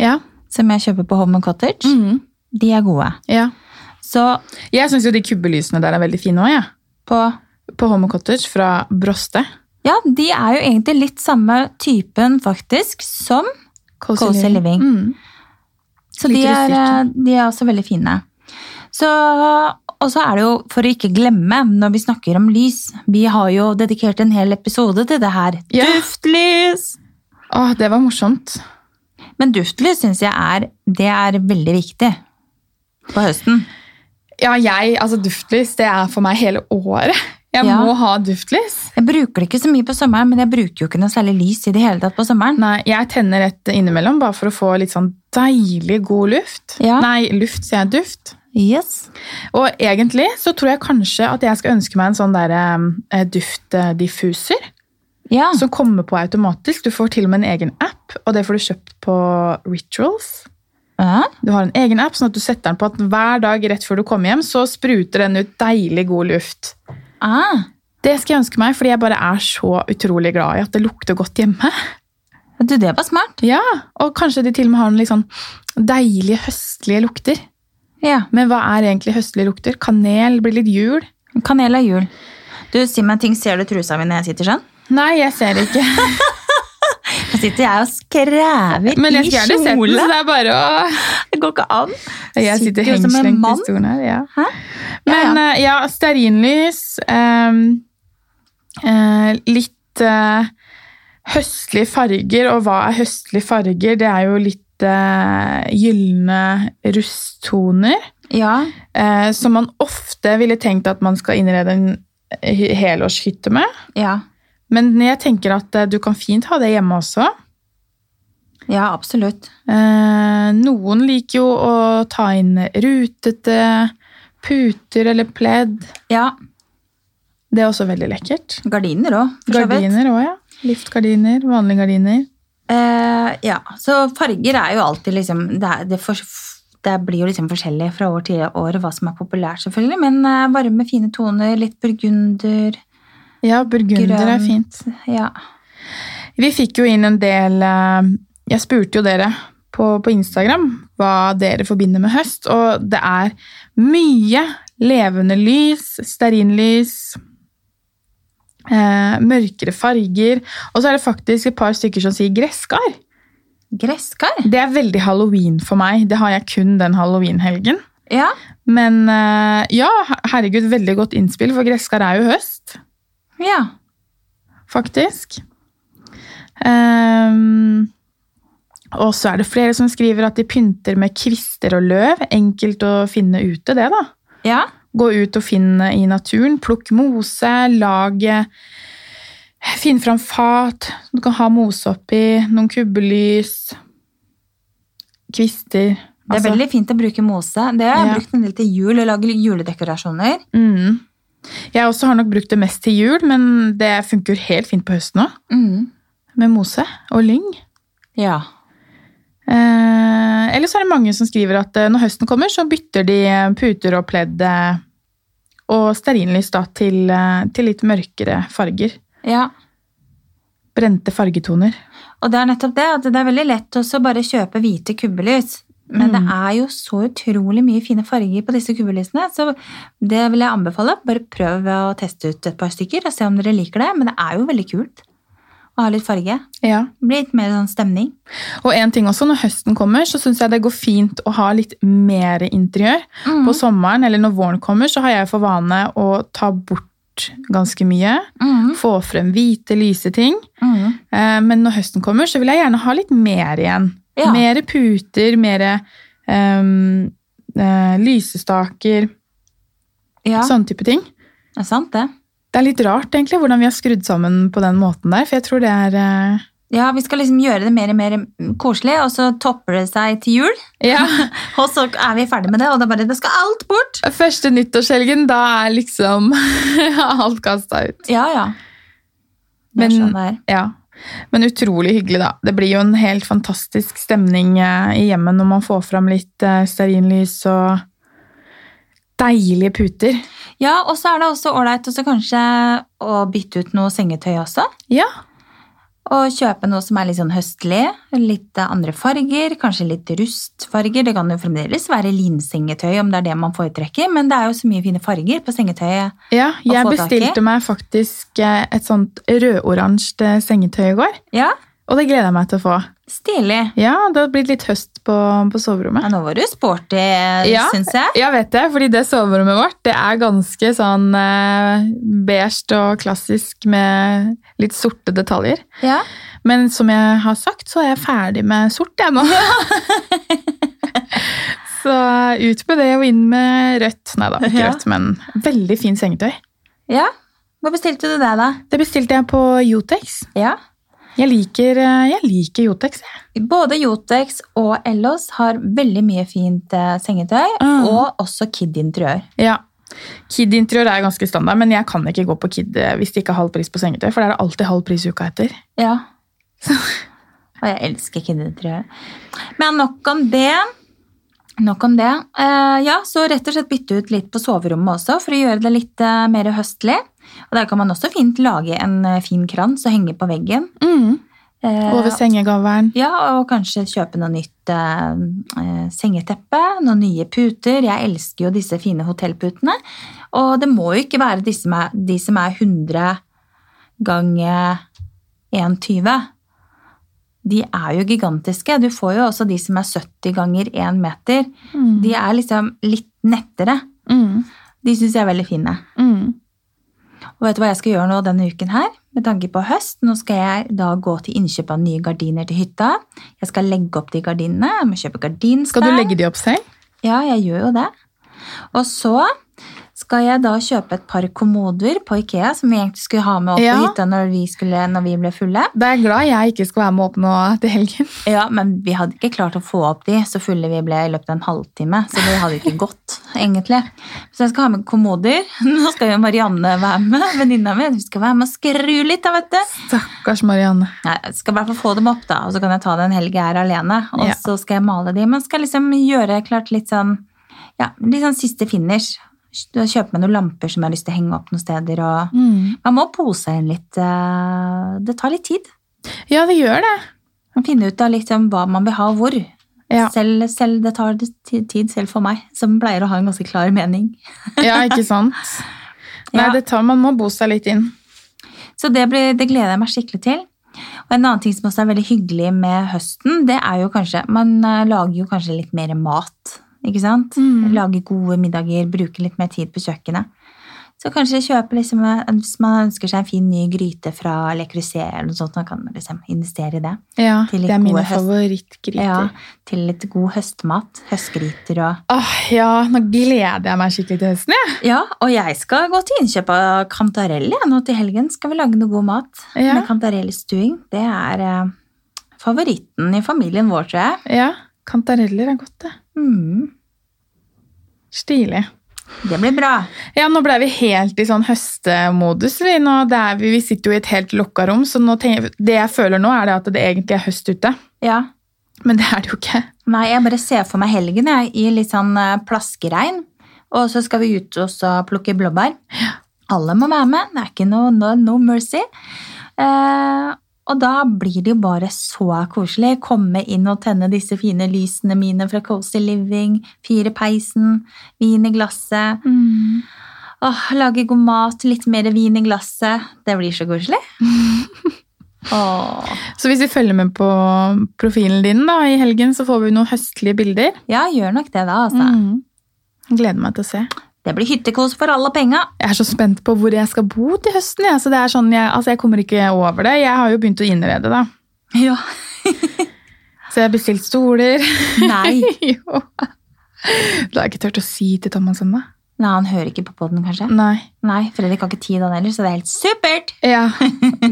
S1: Ja.
S2: som jeg kjøper på Home and Cottage.
S1: Mm.
S2: De er gode.
S1: ja.
S2: Så
S1: Jeg syns jo de kubbelysene der er veldig fine òg, jeg.
S2: på
S1: På Home Cottage fra Broste.
S2: Ja, de er jo egentlig litt samme typen, faktisk, som Cozy living.
S1: Mm.
S2: Så
S1: Litt
S2: de er, eh,
S1: rustikt.
S2: de er også veldig fine. Så, og så er det jo, for å ikke glemme, når vi snakker om lys Vi har jo dedikert en hel episode til det her.
S1: Ja.
S2: Duftlys!
S1: Åh, det var morsomt.
S2: Men duftlys syns jeg er, det er veldig viktig på høsten.
S1: Ja, jeg, altså duftlys, det er for meg hele året. Jeg
S2: Ja.
S1: må ha duftlys.
S2: Jeg bruker det ikke så mye på sommeren, men jeg bruker jo ikke noe særlig lys i det hele tatt på sommeren.
S1: Nei, jeg tenner et innimellom bare for å få litt sånn deilig god luft.
S2: Ja.
S1: Nei, luft, sier jeg duft.
S2: Yes.
S1: Og egentlig så tror jeg kanskje at jeg skal ønske meg en sånn der eh, duftdiffuser
S2: Ja.
S1: som kommer på automatisk. Du får til og med en egen app, og det får du kjøpt på Rituals.
S2: ja.
S1: Du har en egen app, sånn at du setter den på at hver dag rett før du kommer hjem, så spruter den ut deilig god luft.
S2: Ah,
S1: Det skal jeg ønske meg, fordi jeg bare er så utrolig glad i at det lukter godt hjemme.
S2: du, det var smart.
S1: Ja, Og kanskje de til og med har noen litt sånn deilige høstlige lukter.
S2: Ja.
S1: Men hva er egentlig høstlige lukter? Kanel? Blir litt jul?
S2: Kanel og jul. Du, si meg en ting. Ser du trusa mi når jeg sitter sånn?
S1: Nei, jeg ser det ikke.
S2: Nå sitter jeg og skrever
S1: Men jeg
S2: i
S1: skal gjerne se den,
S2: kjole.
S1: så det er bare å
S2: Det går ikke an.
S1: Jeg sitter
S2: jo som en
S1: hengslengt i
S2: mann.
S1: stolen her. Ja.
S2: Hæ?
S1: Men eh, ja, stearinlys. ehm, eh, litt eh, høstlige farger. Og hva er høstlige farger? Det er jo litt uh, gylne rusttoner.
S2: Ja.
S1: eh, som man ofte ville tenkt at man skal innrede en he- eh, helårshytte med.
S2: ja.
S1: Men jeg tenker at eh, du kan fint ha det hjemme også.
S2: Ja, absolutt.
S1: Eh, noen liker jo å ta inn rutete puter eller pledd.
S2: Ja,
S1: Det er også veldig lekkert.
S2: Gardiner òg, for så vidt.
S1: Gardiner òg, ja. Liftgardiner, vanlige gardiner.
S2: Eh, ja, så farger er jo alltid liksom Det, er, det, for, det blir jo liksom forskjellig fra år til år hva som er populært, selvfølgelig. Men eh, varme, fine toner, litt burgunder,
S1: Ja, burgunder
S2: grønt
S1: er fint.
S2: Ja.
S1: Vi fikk jo inn en del eh, Jeg spurte jo dere på, på Instagram hva dere forbinder med høst, og det er mye levende lys, stearinlys, eh, mørkere farger, og så er det faktisk et par stykker som sier gresskar.
S2: Gresskar?
S1: Det er veldig halloween for meg. Det har jeg kun den halloweenhelgen.
S2: Ja.
S1: Men eh, ja, herregud, veldig godt innspill, for gresskar er jo høst,
S2: ja.
S1: faktisk. Ehm, og så er det flere som skriver at de pynter med kvister og løv. Enkelt å finne ute, det, da.
S2: Ja.
S1: Gå ut og finne i naturen. Plukk mose, lag eh, Finn fram fat du kan ha mose oppi, noen kubbelys, kvister
S2: Det er
S1: altså-
S2: veldig fint å bruke mose. Det har jeg
S1: Ja.
S2: brukt en del til jul og lage juledekorasjoner.
S1: Mm. Jeg også har nok brukt det mest til jul, men det funker helt fint på høsten òg. Med mose og lyng.
S2: Ja.
S1: Eh, eller så er det mange som skriver at eh, når høsten kommer, så bytter de puter og pledd eh, og stearinlys da til, eh, til litt mørkere farger.
S2: ja.
S1: Brente fargetoner.
S2: Og det er nettopp det, at det er veldig lett også å bare kjøpe hvite kubbelys. Men det er jo så utrolig mye fine farger på disse kubbelysene, så det vil jeg anbefale. Bare prøv å teste ut et par stykker og se om dere liker det. Men det er jo veldig kult å ha litt farge.
S1: Ja.
S2: Det blir litt mer sånn stemning.
S1: Og en ting også, når høsten kommer, så syns jeg det går fint å ha litt mer interiør.
S2: Mm, Mhm.
S1: På sommeren eller når våren kommer, så har jeg for vane å ta bort ganske mye.
S2: Mhm.
S1: Få frem hvite, lyse ting.
S2: Mhm.
S1: Eh, Men når høsten kommer, så vil jeg gjerne ha litt mer igjen.
S2: Ja.
S1: Mer puter, mer ehm, eh, lysestaker,
S2: Ja,
S1: sånne type ting.
S2: det er sant det.
S1: Det er litt rart egentlig hvordan vi har skrudd sammen på den måten der, for jeg tror det er eh,
S2: Ja, vi skal liksom gjøre det mer og mer koselig, og så topper det seg til jul.
S1: ja.
S2: Og så er vi ferdig med det, og da bare, det skal alt bort.
S1: Første nyttårshelgen, da er liksom alt kasta ut.
S2: Ja, ja. Det
S1: Men-
S2: er sånn det er.
S1: Ja. Men utrolig hyggelig, da. Det blir jo en helt fantastisk stemning eh, i hjemmet når man får fram litt eh, stearinlys og deilige puter.
S2: Ja, og så er det også ålreit også kanskje å bytte ut noe sengetøy også.
S1: Ja.
S2: Og kjøpe noe som er litt sånn høstlig. Litt andre farger, kanskje litt rustfarger. Det kan jo fremdeles være linsengetøy om det er det man foretrekker, men det er jo så mye fine farger på sengetøyet.
S1: Ja,
S2: Å
S1: jeg
S2: få tak i.
S1: bestilte meg faktisk eh, et sånt rødoransje eh, sengetøy i går.
S2: Ja,
S1: Og det gleder jeg meg til å få.
S2: stilig.
S1: Ja, det har blitt litt høst på, på soverommet.
S2: Ja, nå var du sporty,
S1: Ja.
S2: syns jeg.
S1: Ja, vet det, fordi det soverommet vårt det er ganske sånn eh, beige og klassisk med litt sorte detaljer.
S2: Ja.
S1: Men som jeg har sagt, så er jeg ferdig med sort jeg nå. så ut med det og inn med rødt. Nei da, ikke
S2: Ja.
S1: rødt, men veldig fin sengetøy.
S2: ja. Hva bestilte du det, da?
S1: Det bestilte jeg på Jotex.
S2: Ja.
S1: Jeg liker, eh, jeg liker Jotex. jeg.
S2: Både Jotex og Ellos har veldig mye fint eh, sengetøy,
S1: Mm.
S2: og også Kid interiør.
S1: Ja. Kid-interiør er ganske standard, men jeg kan ikke gå på Kid eh, hvis det ikke er halv pris på sengetøy, for det er det alltid halv pris uka etter.
S2: Ja. Og jeg elsker kindertrøye. Men nok om det. Nok om det. Eh, ja, så rett og slett bytte ut litt på soverommet også, for å gjøre det litt eh, mer høstlig. Og der kan man også fint lage en eh, fin krans og henge på veggen.
S1: Mm.
S2: Eh,
S1: Over sengegaveren.
S2: ja, og kanskje kjøpe noe nytt eh, eh, sengeteppe, noen nye puter. Jeg elsker jo disse fine hotellputene. Og det må jo ikke være disse som er, de som er 100 ganger 1,20. De er jo gigantiske. Du får jo også de som er 70 ganger 1 meter.
S1: Mm.
S2: De er liksom litt nettere.
S1: Mm.
S2: De syns jeg er veldig fine.
S1: Mm.
S2: Og vet du hva jeg skal gjøre nå denne uken her? Med tanke på høst, nå skal jeg da gå til innkjøp av nye gardiner til hytta. Jeg skal legge opp de gardinene, jeg må kjøpe gardinstein.
S1: Skal du legge de opp selv?
S2: Ja, jeg gjør jo det. Og så skal jeg da kjøpe et par kommoder på Ikea, som vi egentlig skulle ha med opp på
S1: Ja.
S2: hytta når vi, skulle, når vi ble fulle.
S1: Da er jeg glad jeg ikke skal være med opp nå til helgen.
S2: Ja, Men vi hadde ikke klart å få opp de så fulle vi ble i løpet av en halvtime. Så det hadde ikke gått, egentlig. Så jeg skal ha med kommoder. Nå skal jo Marianne være med, venninna mi. Hun skal være med og skru litt, da, vet du.
S1: Stakkars Marianne.
S2: Nei, jeg skal i hvert fall få dem opp, da, og så kan jeg ta det en helg jeg er alene. Og
S1: Ja.
S2: så skal jeg male de, men skal liksom gjøre klart litt sånn ja, litt sånn siste finish. Kjøpe meg noen lamper som jeg har lyst til å henge opp noen steder. og
S1: Mm.
S2: Man må pose inn litt. eh, Det tar litt tid.
S1: Ja, det gjør det.
S2: Man finner ut av liksom hva man vil ha og hvor.
S1: Ja.
S2: Selv, selv, det tar litt ti- tid selv for meg, som pleier å ha en ganske klar mening.
S1: Ja, ikke sant? Nei,
S2: Ja.
S1: det tar, man må bo seg litt inn.
S2: Så det, blir, det gleder jeg meg skikkelig til. Og en annen ting som også er veldig hyggelig med høsten, det er jo kanskje Man eh, lager jo kanskje litt mer mat, ikke sant?
S1: Mm.
S2: Lager gode middager, bruker litt mer tid på kjøkkenet. Så kanskje kjøpe liksom, eh, Hvis man ønsker seg en fin ny gryte fra Le Creuset eller noe sånt, man kan man liksom investere i det.
S1: Ja,
S2: Til litt
S1: det er mine
S2: gode høst-
S1: favorittgryter.
S2: Ja, til litt god høstmat. Høstgryter og
S1: Åh, ja, nå gleder jeg meg skikkelig til høsten, jeg.
S2: Ja, og jeg skal gå til innkjøp av kantarell jeg, nå til helgen. Skal vi lage noe god mat
S1: Ja.
S2: med kantarellstuing? Det er eh, favoritten i familien vår, tror jeg.
S1: Ja, kantareller er godt, det.
S2: Mm,
S1: Stilig.
S2: det blir bra.
S1: Ja, nå ble vi helt i sånn høstemodus. Vi, nå, det er vi, vi sitter jo i et helt lukka rom, så nå tenker, det jeg føler nå, er det at det egentlig er høst ute.
S2: Ja.
S1: Men det er det jo ikke.
S2: Nei, jeg bare ser for meg helgen jeg, i litt sånn eh, plaskeregn. Og så skal vi ut og så plukke blåbær. Alle må være med. Det er ikke noe no, no mercy. Eh, og da blir det jo bare så koselig. Komme inn og tenne disse fine lysene mine fra Cozy Living. Fyre peisen, vin i glasset. Åh, lage god mat, litt mer vin i glasset. Det blir så koselig. Åh.
S1: Så hvis vi følger med på profilen din da, i helgen, så får vi noen høstlige bilder.
S2: Ja, gjør nok det, da. Altså.
S1: Mm. Gleder meg til å se.
S2: Det blir hyttekos for alle penga.
S1: Jeg er så spent på hvor jeg skal bo til høsten. Ja. Så det er sånn, jeg, altså, jeg kommer ikke over det. Jeg har jo begynt å innrede, da.
S2: Ja.
S1: Så jeg har bestilt stoler.
S2: Nei.
S1: jo. Det har jeg ikke tørt å si til Thomas ennå.
S2: Nei, han hører ikke på podden, kanskje?
S1: Nei.
S2: Nei, Fredrik har ikke tid han heller, så det er helt supert!
S1: Ja,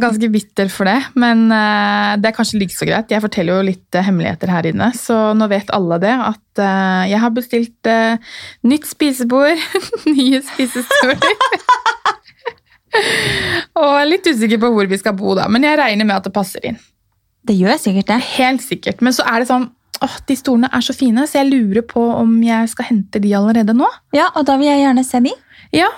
S1: ganske bitter for det. Men eh, det er kanskje like så greit. Jeg forteller jo litt eh, hemmeligheter her inne, så nå vet alle det at eh, jeg har bestilt eh, nytt spisebord, nye spisestoler. Og er litt usikker på hvor vi skal bo, da, men jeg regner med at det passer inn.
S2: Det gjør sikkert det.
S1: Helt sikkert. Men så er det sånn åh, de stolene er så fine, så jeg lurer på om jeg skal hente de allerede nå.
S2: Ja, og da vil jeg gjerne se de.
S1: Ja,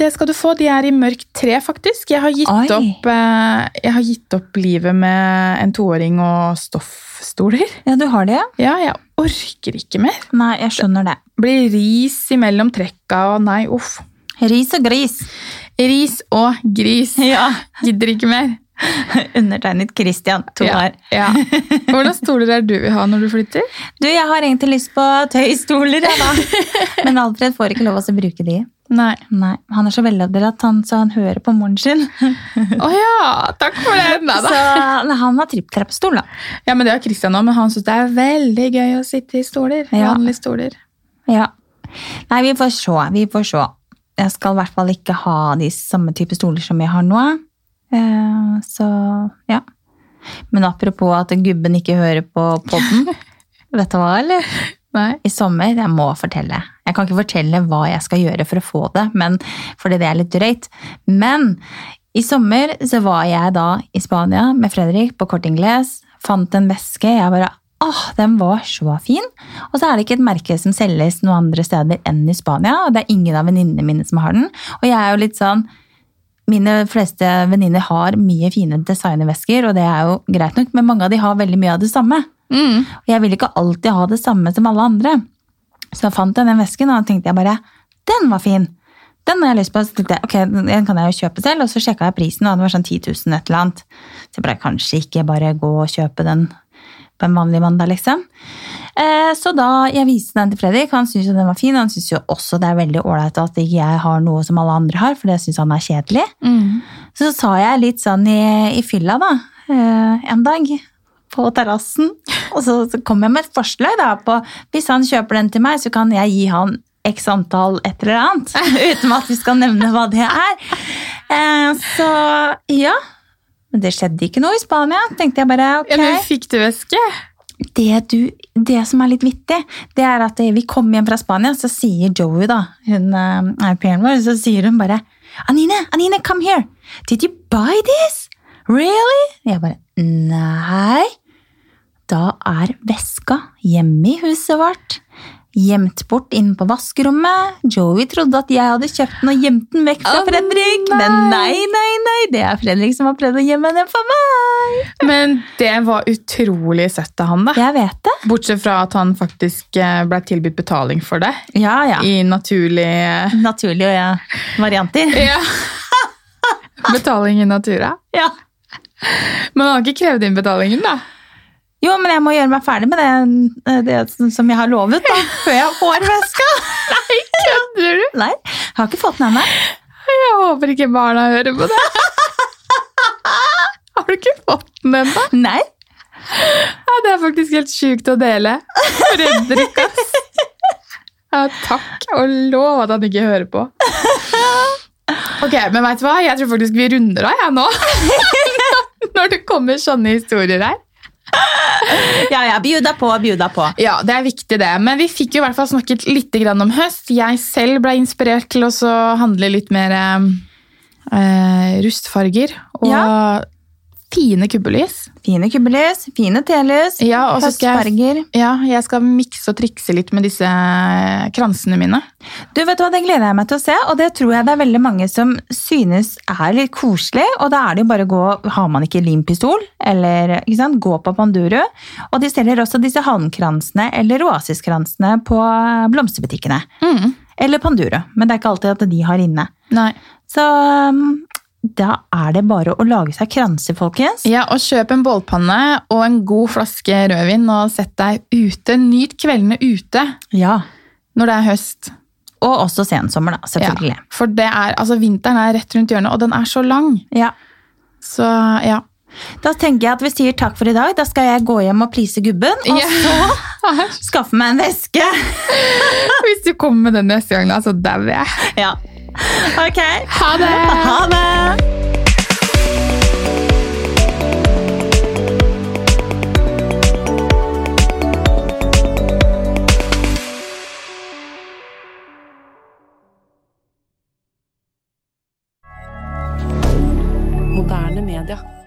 S1: det skal du få. De er i mørkt tre, faktisk. Jeg har gitt,
S2: Oi.
S1: opp, eh, jeg har gitt opp livet med en toåring og stoffstoler.
S2: Ja, du har det, ja?
S1: Ja, jeg orker ikke mer.
S2: Nei, jeg skjønner det.
S1: Blir ris imellom trekka og nei, uff.
S2: Ris og gris.
S1: Ris og gris.
S2: Ja.
S1: Gidder ikke mer.
S2: Undertegnet Christian. To
S1: Ja,
S2: år.
S1: Ja. Hvordan stoler er det du vil ha når du flytter?
S2: Du, jeg har egentlig lyst på tøystoler, jeg, da. Men Alfred får ikke lov å bruke de.
S1: Nei.
S2: Nei, Han er så veloppdratt, han, så han hører på moren sin.
S1: Å ja, takk for det. Nei
S2: Så
S1: da.
S2: nei, han har tripp-trapp-stol, da.
S1: Ja, men det har Christian òg, men han syns det er veldig gøy å sitte i stoler.
S2: Ja.
S1: Vanlige stoler.
S2: Ja. Nei, vi får se. Vi får se. Jeg skal i hvert fall ikke ha de samme type stoler som jeg har nå. Eh, Så ja. Men apropos at gubben ikke hører på podden. vet du hva, eller?
S1: Nei.
S2: I sommer, jeg må fortelle. Jeg kan ikke fortelle hva jeg skal gjøre for å få det, men, fordi det er litt drøyt. Men i sommer så var jeg da i Spania med Fredrik på Cortingles, fant en veske, jeg bare, åh, den var så fin. Og så er det ikke et merke som selges noen andre steder enn i Spania, og det er ingen av venninnene mine som har den. Og jeg er jo litt sånn, mine fleste venninner har mye fine designervesker, og det er jo greit nok, men mange av de har veldig mye av det samme.
S1: Mm.
S2: Og jeg ville ikke alltid ha det samme som alle andre. Så jeg fant jeg den vesken, og da tenkte jeg bare den var fin! Den har jeg lyst på. Så tenkte jeg, ok, den kan jeg jo kjøpe selv, og så sjekka jeg prisen, og det var sånn 10 000 et eller annet. Så jeg bare kanskje ikke bare gå og kjøpe den på en vanlig mandag, liksom. Eh, så da jeg viste den til Fredrik, han syntes jo den var fin. Han syns jo også det er veldig ålreit at ikke jeg har noe som alle andre har, for det syns han er kjedelig.
S1: Mm.
S2: Så sa jeg litt sånn i, i fylla da, eh, en dag på terrassen, og så, så kom jeg med et forslag da på, hvis han kjøper den til meg, så kan jeg gi han x antall et eller annet, uten at vi skal nevne hva det er. Eh, Så ja. Men det skjedde ikke noe i Spania. tenkte jeg bare, ok.
S1: Ja, men fikk du væske?
S2: det, du, det som er litt vittig, det er at vi kom hjem fra Spania, så sier Joey, da, hun eh, er pairen vår, så sier hun bare Anine, Anine, come here! Did you buy this? Really? Jeg bare Nei. Da er veska hjemme i huset vårt. Gjemt bort inne på vaskerommet. Joey trodde at jeg hadde kjøpt den og gjemt den vekk fra
S1: Å,
S2: Fredrik.
S1: nei.
S2: Men nei, nei, nei, det er Fredrik som har prøvd å gjemme den for meg.
S1: Men det var utrolig søtt av han, da.
S2: Jeg vet det.
S1: Bortsett fra at han faktisk eh, ble tilbudt betaling for det
S2: Ja, ja.
S1: i naturlig eh,
S2: naturlige ja, varianter.
S1: Ja. Betaling i natura.
S2: Ja.
S1: Men han har ikke krevd inn betalingen, da.
S2: Jo, men jeg må gjøre meg ferdig med det, eh, det som jeg har lovet, da, før jeg får veska.
S1: Nei, kødder du?
S2: Nei, jeg har ikke fått den ennå.
S1: Jeg håper ikke barna hører på det. Har du ikke fått den ennå?
S2: Nei.
S1: Ja, det er faktisk helt sjukt å dele. Fredrik, ass. Ja, takk og lov at han ikke hører på. Ok, men vet du hva? Jeg tror faktisk vi runder av, jeg nå. Når det kommer sånne historier her.
S2: Ja, ja, bjuda på, bjuda på.
S1: Ja, det er viktig det. Men vi fikk jo i hvert fall snakket litt grann om høst. Jeg selv ble inspirert til å så handle litt mer eh, rustfarger og fine kubbelys.
S2: Fine kubbelys, fine telys,
S1: Ja, og så skal jeg,
S2: høstfarger.
S1: ja, jeg skal mikse og trikse litt med disse eh, kransene mine.
S2: Du vet du hva, Det gleder jeg meg til å se, og det tror jeg det er veldig mange som synes er litt koselig. og da er det jo bare å gå, Har man ikke limpistol, eller ikke sant, gå på Panduru. Og de selger også disse halmkransene eller oasiskransene på eh, blomsterbutikkene.
S1: Mm.
S2: Eller Panduro, men det er ikke alltid at de har inne.
S1: Nei.
S2: Så um, da er det bare å lage seg kranser, folkens.
S1: Ja, og kjøp en bålpanne og en god flaske rødvin og sett deg ute. Nyt kveldene ute
S2: Ja.
S1: når det er høst.
S2: Og også sensommer, da, selvfølgelig.
S1: Ja, for det er, altså vinteren er rett rundt hjørnet, og den er så lang.
S2: Ja.
S1: Så ja.
S2: Da tenker jeg at vi sier takk for i dag. Da skal jeg gå hjem og please gubben, og
S1: Ja.
S2: så skaffe meg en veske.
S1: Altså, Hvis du kommer med den neste gang, da, så dauer jeg.
S2: Ja. Ok.
S1: Ha det!
S2: Ha det!
S3: Moderne media.